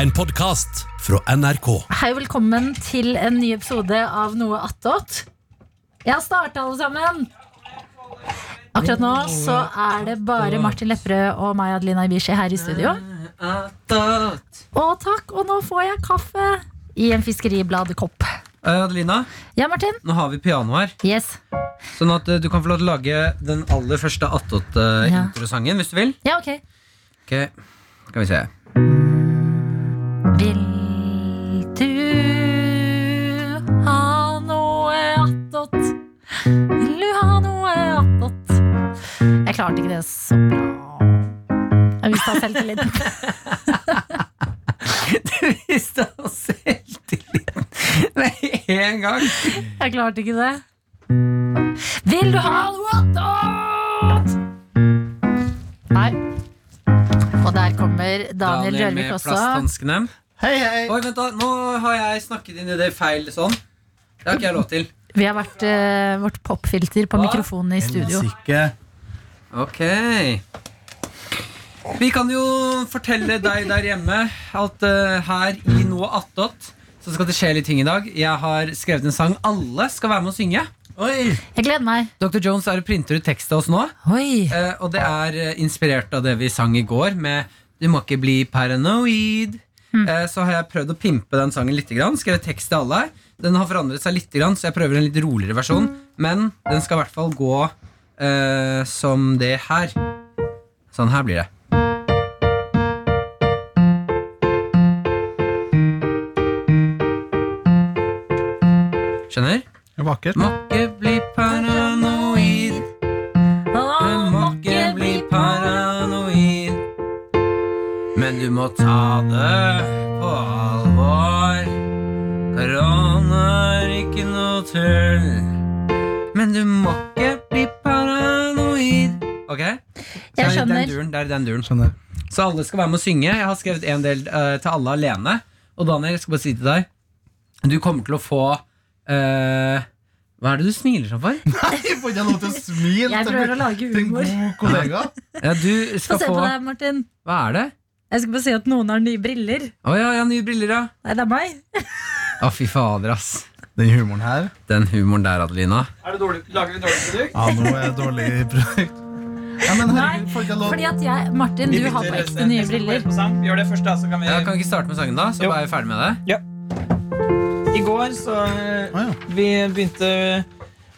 en podkast fra NRK. Hei og velkommen til en ny episode av Noe attåt. Jeg har starta, alle sammen. Akkurat nå så er det bare Martin Lepperød og meg, Adelina Ibishi, her i studio. Og takk, og nå får jeg kaffe i en fiskeribladkopp. Eh, Adelina, Ja, Martin? nå har vi piano her. Yes. Sånn at eh, du kan få lov til å lage den aller første Ja. Attåt-introsangen, hvis du vil. Ja, ok. Ok, Skal vi se. Vil du ha noe attåt? Vil du ha noe attåt? Jeg klarte ikke det så bra. Jeg mista selvtilliten. Mista selvtilliten med en gang. Jeg klarte ikke det. Vil du ha noe attåt? Nei. Og der kommer Daniel Rørvik med også. plasthanskene. Hei, hei! Oi, vent, da. Nå har jeg snakket inn i det feil sånn. Det har ikke jeg lov til. Vi har vært eh, vårt popfilter på Hva? mikrofonene i studio. Helsike. Ok Vi kan jo fortelle deg der hjemme at eh, her i Noe attåt så skal det skje litt ting i dag. Jeg har skrevet en sang alle skal være med å synge. Oi! Jeg gleder meg. Dr. Jones er og printer ut tekst til oss nå, Oi. eh, og det er eh, inspirert av det vi sang i går med Du må ikke bli paranoid. Eh, Så har jeg prøvd å pimpe den sangen litt. Grann, skrevet tekst til alle. Den har forandret seg litt, grann, så jeg prøver en litt roligere versjon. Men den skal i hvert fall gå eh, som det her. Sånn her blir det. Skjønner? Vakkert. Må ikke bli paranoid. Du må ikke bli paranoid. Men du må ta det på alvor. Korona er ikke noe tull. Men du må ikke bli paranoid. Ok? Jeg Så er det skjønner. Den duren, det er den duren. Skjønner. Så alle skal være med å synge. Jeg har skrevet en del eh, til alle alene. Og Daniel, jeg skal bare si til deg Du kommer til å få eh, Hva er det du smiler sånn for? Nei, får ikke jeg lov til å smile Jeg til prøver å min- lage til en humor. god kollega? Ja, du Få skal se få på deg, Martin. Hva er det? Jeg skal bare si at noen har nye briller. Å ja, ja, nye briller, ja. Nei, det er meg. Å, fy fader, ass. Den humoren her Den humoren der, Adelina. Ja, nå er jeg dårlig i produkt. Ja, men herregud, får ikke jeg lov Fordi at jeg, Martin, du har på ekte nye briller. Vi gjør det først, da, så kan vi Ja, kan vi ikke starte med sangen, da? Så Jo. bare er vi ferdig med det. I går så eh, Å, ja. Vi begynte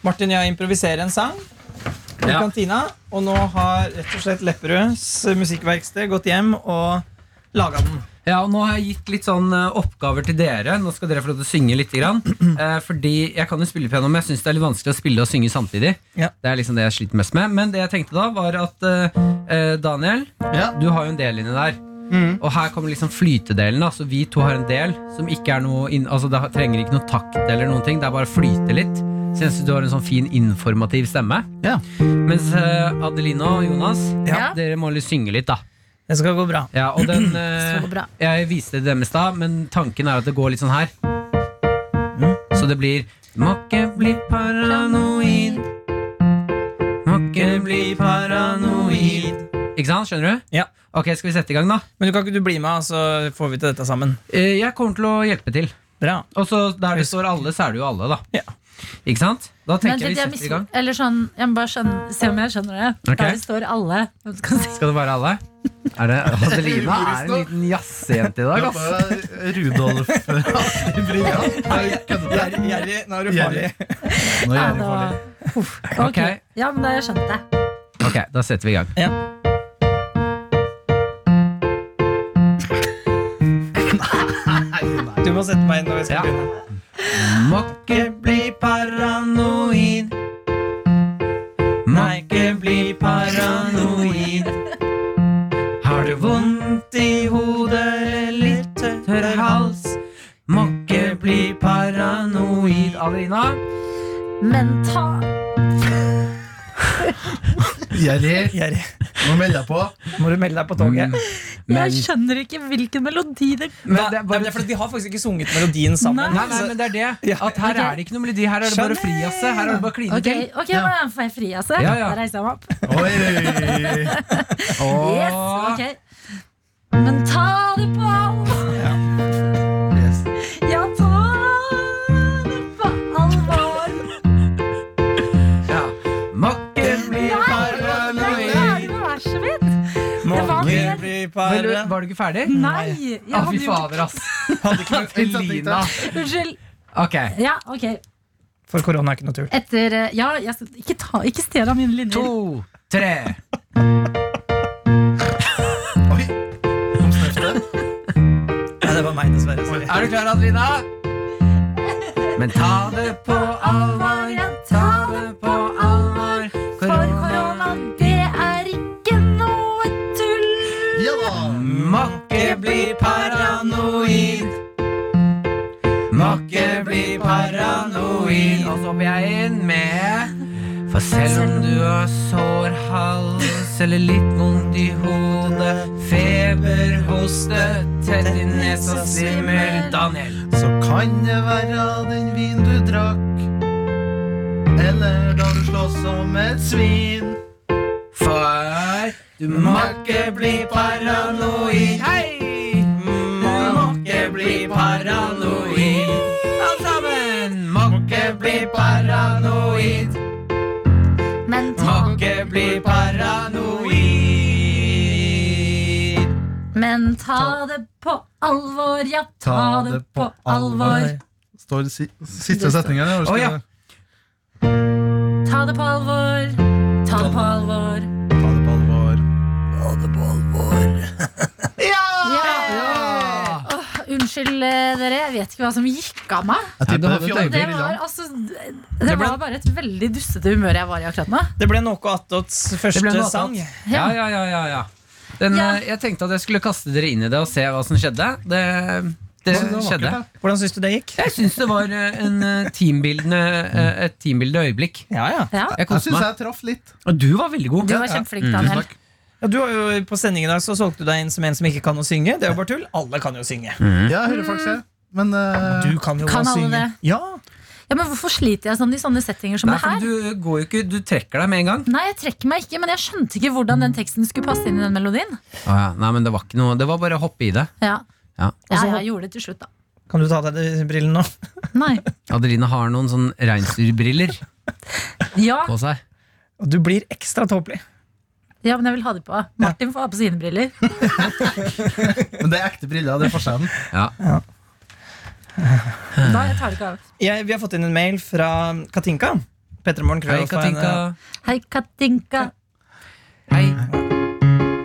Martin og jeg å improvisere en sang i Ja. kantina. Og nå har rett og slett Lepperøds musikkverksted gått hjem og laga den. Ja, og Nå har jeg gitt litt sånn eh, oppgaver til dere. Nå skal dere få lov til å synge litt. Grann. Eh, fordi jeg kan jo spille piano, men jeg syns det er litt vanskelig å spille og synge samtidig. Ja. Det er liksom det jeg sliter mest med. Men det jeg tenkte da, var at eh, eh, Daniel, Ja. Mm. du har jo en del inni der. Og her kommer liksom flytedelen. da, Så vi to har en del som ikke er noe inn, Altså det har- trenger ikke noe takt eller noen ting. Det er bare å flyte litt. Så jeg synes du har en sånn fin informativ stemme. Ja. Mens eh, Adelina og Jonas, Ja. dere må litt synge litt, da. Det skal gå bra. Ja, og den eh, Så bra. Jeg viste det dem i stad, men tanken er at det går litt sånn her. Så det blir Må ikke bli paranoid. Må ikke bli paranoid. Ikke sant? Skjønner du? Ja. Ok, skal vi sette i gang, da? Men du kan ikke du bli med, så får vi til dette sammen. Eh, Jeg kommer til å hjelpe til. Bra. Og så der det står alle, så er det jo alle, da. Ja. Ikke sant? Da Men tenker det, jeg jeg vi setter i gang. mis- eller sånn, jeg må bare skjønne, se om jeg skjønner det. Ok. Der det står alle. Hvem skal si- Skal det være alle? Er det Adelina er en liten jazzjente i dag, ass. Bare Rudolf Astrid Bria. Jeg kødder ikke. Gjerrig, nå er du Gjerrig. Nå Ja, gjør jeg det var- farlig. Uff. Ok. Ok. Ja, men da har jeg skjønt det. Ok, da setter vi i gang. Ja. Du må sette meg inn når jeg skal Ja. begynne. Må ikke bli paranoid. Må Nei, ikke bli paranoid. Har du vondt i hodet eller litt tørr hals? Må ikke bli paranoid. Adelina? Men ta Jerry, Gjerrig. Mm. nå melder jeg på. Må du melde deg på toget? Men- Jeg skjønner ikke hvilken melodi det Men Nei, det er nei, men bare det er fordi Vi har faktisk ikke sunget melodien sammen. Nei, nei, men det er det. At her er det ikke noe melodi. Her er det bare å frijazze. Her er det bare å kline til. Ok, ok, nå får jeg fri, altså. Ja, ja. Da reiser jeg meg opp. Oi! Yes, ok. Men ta det på alvor. ikke ferdig? Nei! jeg Å, hadde fy jo- fader, ass. Adelina. Unnskyld. Ok. Ja, ok. For korona er ikke noe tull. Etter eh, Ja, jeg, skal- ikke, ta- ikke stel av mine linjer. To, tre. Oi, kom snøftet. Nei, det var meg, dessverre. Sorry. Er du klar, Adelina? Men ta det på alvor, ta det på alvor. For koronaen, det er ikke noe tull. Ja da! Må ikke bli paranoid. Må ikke bli paranoid. Og så blir jeg inn med For selv om du har sår hals eller litt vondt i hodet, feber, hoste, tett i nesa, svimmel Daniel. Så kan det være den vin du drakk, eller da du slåss som et svin. For du må ikke bli paranoid. Hei! Må ikke bli paranoid. Alle sammen! Må ikke bli paranoid. Men Må ta, ikke bli paranoid. men ta det på alvor, ja, ta det på alvor. Står si siste setningen der. Å, ja. Ta det på alvor, ta det på alvor. Ta det på alvor. Ja! Åh, unnskyld eh, dere, jeg vet ikke hva som gikk av meg. Jeg Ja, det tipper var det et fjorten Det blir var, langt. altså, det var bare et veldig dustete humør jeg var i akkurat nå. Det ble noe attåts Det ble første noe sang. annet. Ja, ja, ja, ja, ja. Den, Ja. eh, Jeg tenkte at jeg skulle kaste dere inn i det og se hva som skjedde. Det, det det var vakkert, skjedde. da. Hvordan syns du det gikk? Jeg syns det var eh, en eh, teambildende, eh, et teambildende øyeblikk. Ja, ja. Ja, Jeg Jeg koste syns meg. jeg traff litt. Og du var veldig god. du var kjempeflink, Daniel. Ja, du har jo På sending i dag så solgte du deg inn som en som ikke kan å synge. Det er jo bare tull. Alle kan jo synge. Ja, jeg hører faktisk det. Men eh, Du kan jo Kan også alle synge. det? Ja. Ja, men hvorfor sliter jeg sånn i sånne settinger som Nei, det for her? du går jo ikke, du trekker deg med en gang. Nei, jeg trekker meg ikke, men jeg skjønte ikke hvordan den teksten skulle passe inn i den melodien. ja. Nei, men det var ikke noe, det var bare å hoppe i det. Ja, Ja. ja jeg gjorde det til slutt, da. Kan du ta av deg de brillene nå? Nei. Adeline har noen sånn reinsdyrbriller Ja, på seg. Og du blir ekstra tåpelig. ja, men jeg vil ha de på. Martin får ha på sine briller. Men det er ekte briller, det er forskjellen. Ja. Da jeg tar det ikke av. Jeg, vi har fått inn en mail fra Katinka. Petremorgen, Hei, krøllalfa, Katinka. en, Hei, Katinka. Hei.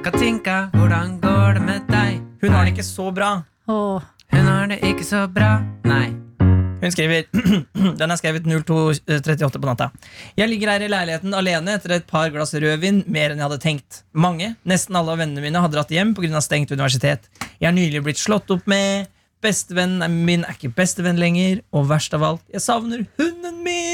Katinka, hvordan går det med deg? eh, Hun har det ikke så bra. Åh. Hun har det ikke så bra. Nei. Hun skriver Den er skrevet 02.38 på natta. Jeg ligger her i leiligheten alene etter et par glass rødvin mer enn jeg hadde tenkt. Mange, nesten alle av vennene mine, har dratt hjem pga. stengt universitet. Jeg er nylig blitt slått opp med. Bestevennen min er ikke bestevenn lenger. Og verst av alt, jeg savner hunden min!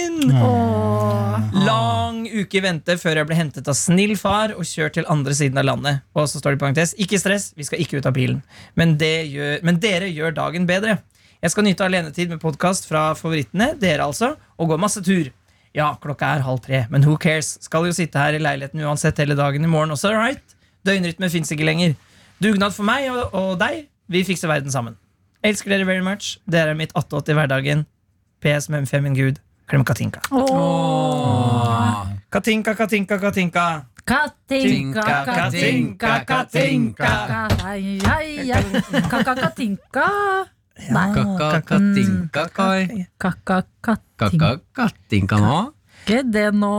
Lang uke i vente før jeg ble hentet av snill far og kjørt til andre siden av landet. Og så står det i parentes Ikke stress, vi skal ikke ut av bilen. Men, det gjør, men dere gjør dagen bedre. Jeg skal nyte alenetid med podkast fra favorittene, dere altså, og gå masse tur. Ja, klokka er halv tre, men who cares? Skal jo sitte her i leiligheten uansett hele dagen i morgen også, right? Døgnrytme fins ikke lenger. Dugnad for meg og, og deg. Vi fikser verden sammen. Elsker dere very much. Dere er mitt attåt i hverdagen. PS med M5 min gud. Klem Katinka. Katinka, Katinka, Katinka. Katinka, Tinka, Katinka, Katinka, Katinka. Hei, hei, hei. Kaka, Katinka. Nei, Kaka, Katinka, kai. kaka, Katinka. Kaka, Katinka nå. Det nå.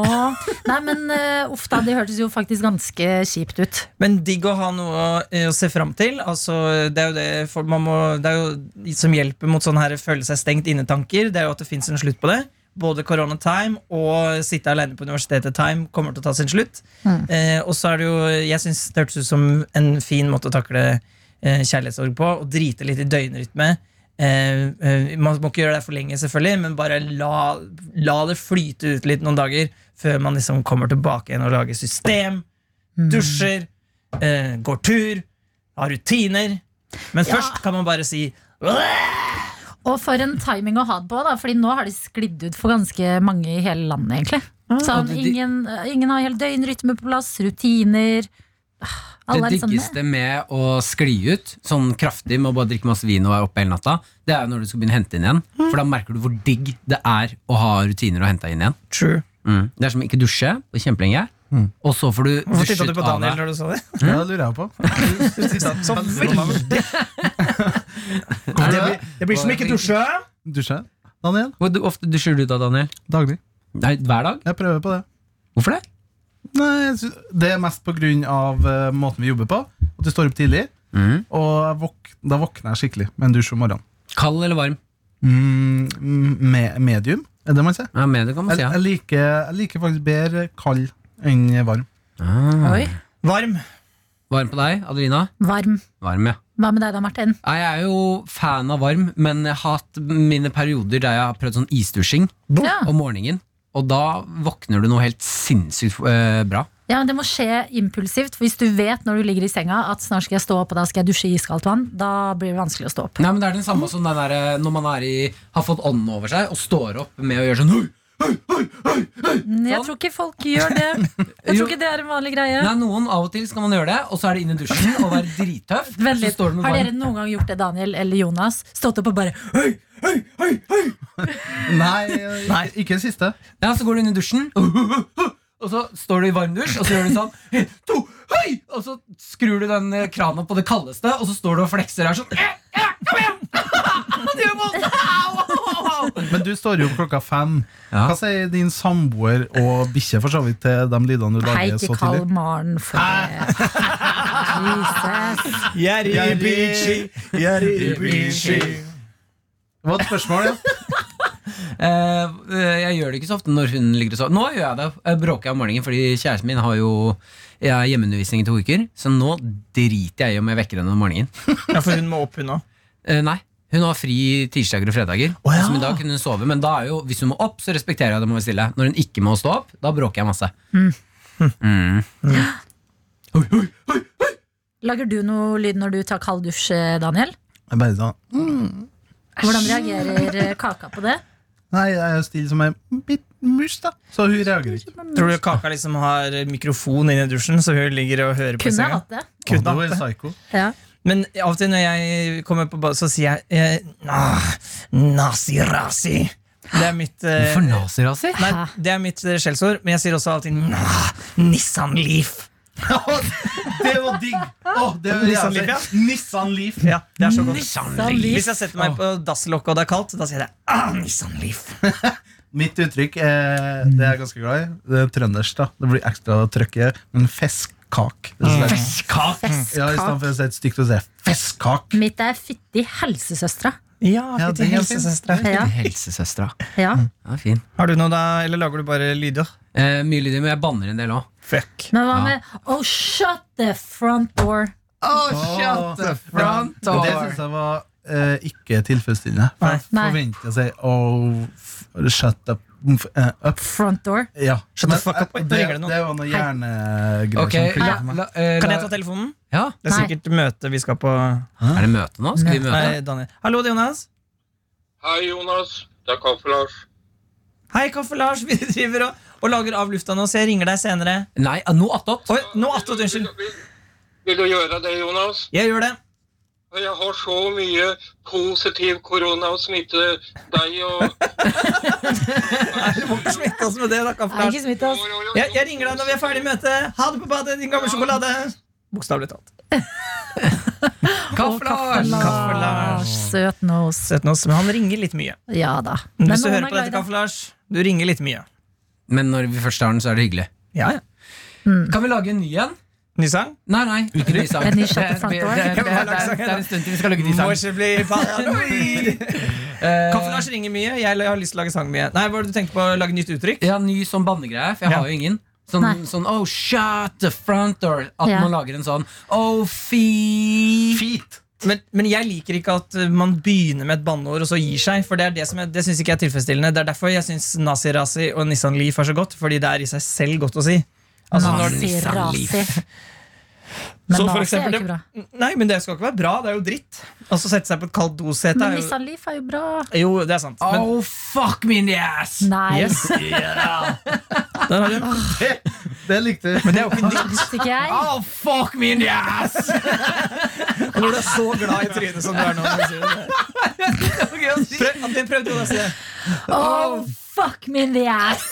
Nei, men eh, uff da, det hørtes jo faktisk ganske kjipt ut. Men digg å ha noe eh, å se fram til. Altså, det er jo det folk man må, Det er jo de som hjelper mot sånne her føle seg stengt inne-tanker. Det er jo at det fins en slutt på det. Både koronatime og sitte alene på universitetet-time kommer til å ta sin slutt. Eh, og så er det jo Jeg syns det hørtes ut som en fin måte å takle eh, kjærlighetssorg på. Å drite litt i døgnrytme. Eh, eh, man må ikke gjøre det for lenge, selvfølgelig, men bare la, la det flyte ut litt noen dager før man liksom kommer tilbake igjen og lager system. Dusjer, eh, går tur, har rutiner. Men først kan man bare si Og for en timing å ha det på, da, Fordi nå har de sklidd ut for ganske mange i hele landet, egentlig. Sånn, Og det- ingen, ingen har helt døgnrytme på plass, rutiner Ah, Alle Det er liksom litt sånn diggeste med å skli ut sånn kraftig med å bare drikke masse vin og være oppe hele natta, det er jo når du skal begynne å hente inn igjen. For da merker du hvor digg det er å ha rutiner og hente inn igjen. True. Mm. Det er som ikke dusje på kjempelenge. Og så får du Hvorfor titta dusjet du på av Daniel deg. når du så det? Ja, det lurer jeg på. Så veldig Det blir- Det blir som ikke dusje. Dusjer jeg? Daniel? Hvor du- ofte dusjer du da, Daniel? Daglig. Nei, hver dag? Jeg prøver på det. Hvorfor det? Nei, jeg sy- Det er mest på grunn av eh, måten vi jobber på. At vi står opp tidlig. Mm. Og jeg våk da våkner jeg skikkelig med en dusj om morgenen. Kald eller varm? Mm, mm, me medium, er det man sier? Ja, med det kan man Jeg, si, ja. jeg, liker, jeg liker faktisk bedre kald enn varm. Ah. Oi. Varm. Varm på deg, Adelina? Varm. Varm, ja. Hva med deg da, Martin? Nei, Jeg er jo fan av varm, men jeg har hatt mine perioder der jeg har prøvd sånn isdusjing Ja. om morgenen. Og da våkner du noe helt sinnssykt eh, bra. Ja, men Det må skje impulsivt. for Hvis du vet når du ligger i senga at snart skal jeg stå opp og da skal jeg dusje i iskaldt vann, da blir det vanskelig å stå opp. Nei, men Det er den samme som den der, eh, når man er i, har fått ånden over seg og står opp med å gjøre sånn «Oi, oi, oi, oi, oi!» Mm, Jeg tror ikke folk gjør det. Jeg tror ikke det er en vanlig greie. Sånn. Nei, Noen av og til skal man gjøre det, og så er det inn i dusjen og være drittøff. Vent så litt. står det med Har dere varm- noen gang gjort det, Daniel eller Jonas? Stått opp og bare Hei, hei, hei, hei! Nei, eh, Nei. ikke den siste. Ja, Så går du inn i dusjen, og så står du i varm dusj, og så gjør du sånn «En, to, hei! Og så skrur du den eh, krana på det kaldeste, og så står du og flekser her sånn «Eh, eh, Kom igjen! Det gjør vondt! Au, au, au, au!» Men du står jo opp klokka fem. Ja. Hva sier din samboer og bikkje for så vidt til de lydene du Hei, lager så ikke tidlig? kall Maren for det. Jesus. Jaribici, Det var et spørsmål, ja. Eh, eh, jeg gjør det ikke så ofte når hun ligger og sover. Nå gjør jeg det. Jeg bråker om morgenen fordi kjæresten min har jo jeg har hjemmeundervisning i to uker. Så nå driter jeg i om jeg vekker henne om morgenen. Ja, for hun må opp, hun òg. Eh, nei. Hun har fri tirsdager og fredager. Å, ja. Som i dag kunne hun sove, men da er jo, hvis hun må opp, så respekterer jeg det. Må være stille. Når hun ikke må stå opp, da bråker jeg masse. Mm. Lager du noe lyd når du tar kald dusj, Daniel? Jeg bare sånn Hvordan reagerer eh, kaka på det? Nei, jeg er jo stille som en bit mus, da. Så hun reagerer ikke. Tror du kaka liksom har mikrofon inne i dusjen, så hun ligger og hører på i Kunne jeg senga? hatt det. Å, Kunne du er hatt det. psyko. Ja. Men av og til når jeg kommer på badet, så sier jeg eh, ah, nazi-razi. Det er mitt eh, For naziraser? Nei, det er mitt eh, skjellsord, men jeg sier også alltid ah, Nissan Leaf. Det var digg! Å, det var Nissan jævlig. Leaf, Nissan Leaf. Ja, det er så godt. Sånn lyd. Hvis jeg setter meg på dasslokket og det er kaldt, da sier jeg ah, Nissan Leaf. Mitt uttrykk eh, det er jeg ganske glad i. Det er trøndersk. da Det blir ekstra trøkk i det. Men feskkak. det er så lett. Ja, I stedet for å si et stygt å si feskkak. Mitt er fytti helsesøstra. Ja, Ja, den fytti er fin. helsesøstre. Ja, Helsesøstera. ja. Mm. Ja, fin. Har du noe da, eller lager du bare lyder? Eh, mye lyder, men jeg banner en del òg. Fuck. Men hva med Oh, shut the front door. Oh, shut the front Men det syns jeg var eh, ikke tilfredsstillende. For jeg Nei. forventer å si oh, f- shut up. mm, f- eh, up. Front door. Ja. Shut the fuck up. eh, Oi, nå Det, ringer det noen. det var noe hjernegreier. Ok, som la, klikket for meg. la, eh, Kan la- jeg ta telefonen? ja. Det er Nei. sikkert møte vi skal på. Er det møte nå? Skal vi møte? Nei, Daniel. Hallo, det er Jonas. Hei, Jonas. Det er Kaffe-Lars. Hei, Kaffe-Lars. Vi driver og, og lager av lufta nå, så jeg ringer deg senere. Nei, noe attåt. Oi, nå attåt, unnskyld. Vil, vil du gjøre det, Jonas? Jeg gjør det. Jeg har så mye positiv korona å smitte deg og Du må ikke smitte oss med det, da, Nei, Kaffe-Lars. ikke smitt oss. Jeg, jeg ringer deg når vi er ferdig møte. Ha det på badet, din gamle sjokolade. Bokstavelig talt. Kaffelars! Kaffe-Lars. Søt nos. Søt nå, men han ringer litt mye. Ja da. Men Hvis du noen hører er på dette, glad i Kaffe-Lars, du ringer litt mye. Men når vi først har den, så er det hyggelig. Ja, ja. Kan vi lage en ny en? Ny sang? Nei, nei. Ikke ny sang. En ny shot at front Det- door. det- det- det- Hva er det- sangen, det da? er en stund til vi skal lage ny Må sang. ikke Eh, bli paranoid. Kaffe-Lars ringer mye. Jeg har lyst til å lage sang mye. Nei, hva var det du tenkte på? Lage nytt uttrykk? Ja, ny sånn bannegreie, for jeg Ja. har jo ingen. Nei. Sånn, sånn oh, shut the front door. At Ja. man lager en sånn oh, fi... Feet. Men, men jeg liker ikke at uh, man begynner med et banneord og så gir seg. For Det er det som jeg, det syns ikke jeg er tilfredsstillende. Det er derfor jeg syns nazi-razi og Nissan Leaf er så godt. Fordi det er i seg selv godt å si. Altså, når, Nazi-rasi. Så Men for nazi er eksempel jo ikke bra. nei, men det skal ikke være bra. Det er jo dritt. Og så sette seg på et kaldt dosete Men er jo, Nissan Leaf er jo bra. jo Det er sant. Men Oh, fuck me in the ass! Nei, Yes. der har du den. Det likte du. Men det er jo ikke nytt. det visste ikke jeg. Oh, fuck me in the ass! Og når du er så glad i trynet som du er nå. når du sier det. Prøv, Adelin, prøv du å si det. Oh, fuck me in the ass.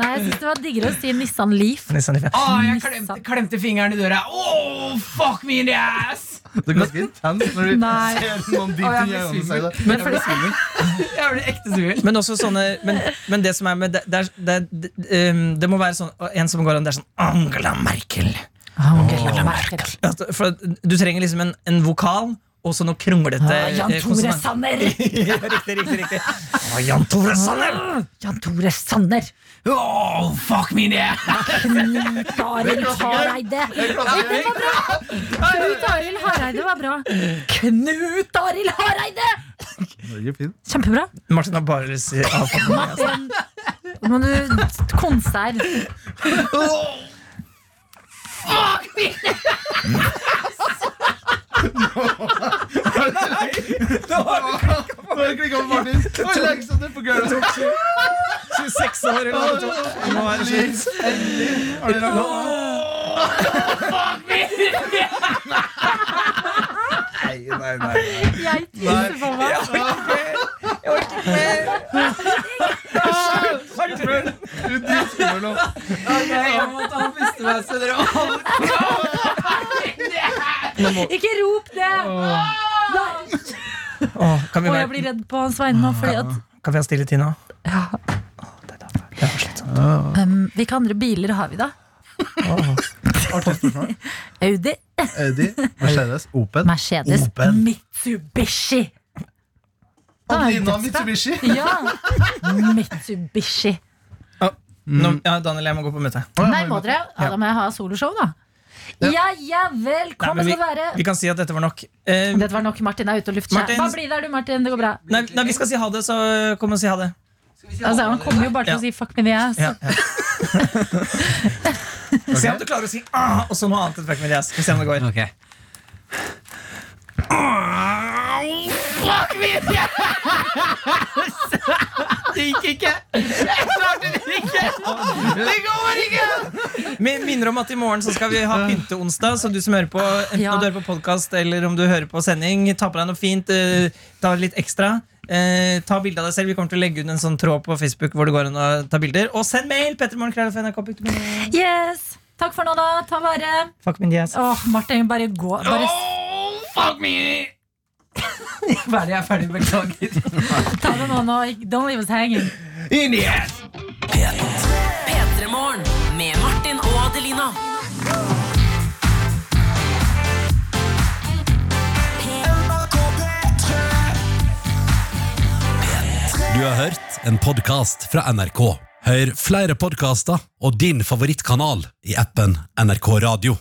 Nei, jeg syns det var diggere å si Nissan Leaf. Nissan Leaf, ja. Å, Ah, jeg klemte, klemte fingeren i døra. Oh, Å, fuck me in the ass! Det er ganske intenst når du Nei. ser noen dypt Å, jeg inn i blir øynene og sier det. Jeg ble svimmel. Jeg ble ekte svimmel. Men også sånne Men, men det som er med Det, det, er- det, det, ehm, det må være sånn en som går an, det er sånn Angela Merkel. Angela Merkel. At, for, at du trenger liksom en, en vokal og så noe kronglete Ah, Jan eh, Tore konsonant. Sanner! Ja, riktig, riktig, riktig. Å, Jan Tore Sanner! Jan Tore Sanner! Å, fuck me in the ass! Knut Arild Hareide! Ja, Den var bra! Knut Arild Hareide var bra. Knut Arild Hareide! Norge er fin. Kjempebra. Martin har bare lyst til å avfatte meg. altså. Martin, nå må du konsert. Nå har jeg klikket på Martin. Nå er Alexander på gulvet. 26 år eller noe sånt. Nå er det slutt. Har dere lagt opp? Nei, nei, nei. nei. Jeg tisser på meg. Du disker meg nå. Jeg måtte ha pusteveis. Ikke rop det! Nei. Åh, kan, vi Og jeg være, blir redd på hans vegne nå, fordi at kan vi ha stille tid nå? ja. Det er slitsomt. um, Hvilke andre biler har vi, da? Audi, Eddie, Mercedes, Open. Mercedes, Opel. Mitsubishi. Adelina Mitsubishi. Ja! Mitsubishi. Nå, ja, Daniel, jeg må gå på møte. Nei, må dere? Ja, da må jeg ha soloshow, da. Ja ja vel, Nei, kom men det vi, skal være. vi kan si at dette var nok. Eh, Dette var nok, Martin er ute og lufter seg. Martin- Bare bli der du, Martin. Det går bra. nei, nei, vi skal si ha det, så kom og si ha det. Altså, han kommer jo bare til å si 'fuck me in the ass'. Ja, ja. Se om du klarer å si ah, og så noe annet enn fuck me yes. Vi ser om det går. Ok. Det gikk ikke. Jeg klarte det ikke. Det går ikke. Vi minner om at i morgen så skal vi ha pynteonsdag, så du som hører på, enten Ja. om du hører på podkast eller om du hører på sending, ta på deg noe fint, eh, ta litt ekstra. Eh, ta bilde av deg selv. Vi kommer til å legge ut en sånn tråd på Facebook hvor det går an å ta bilder. Og send mail! Pettermorgen.nrk.no. Yes! Takk for nå, da. Ta vare. Fuck min yes. Åh, Martin, bare gå. Bare s- Fuck me! Hva er det jeg er ferdig med? Beklager. ta det nå, nå. Don't leave us hanging. In the ass. P3morgen med Martin og Adelina. Du har hørt en podcast fra NRK. Hør flere podcaster og din favorittkanal i appen NRK Radio.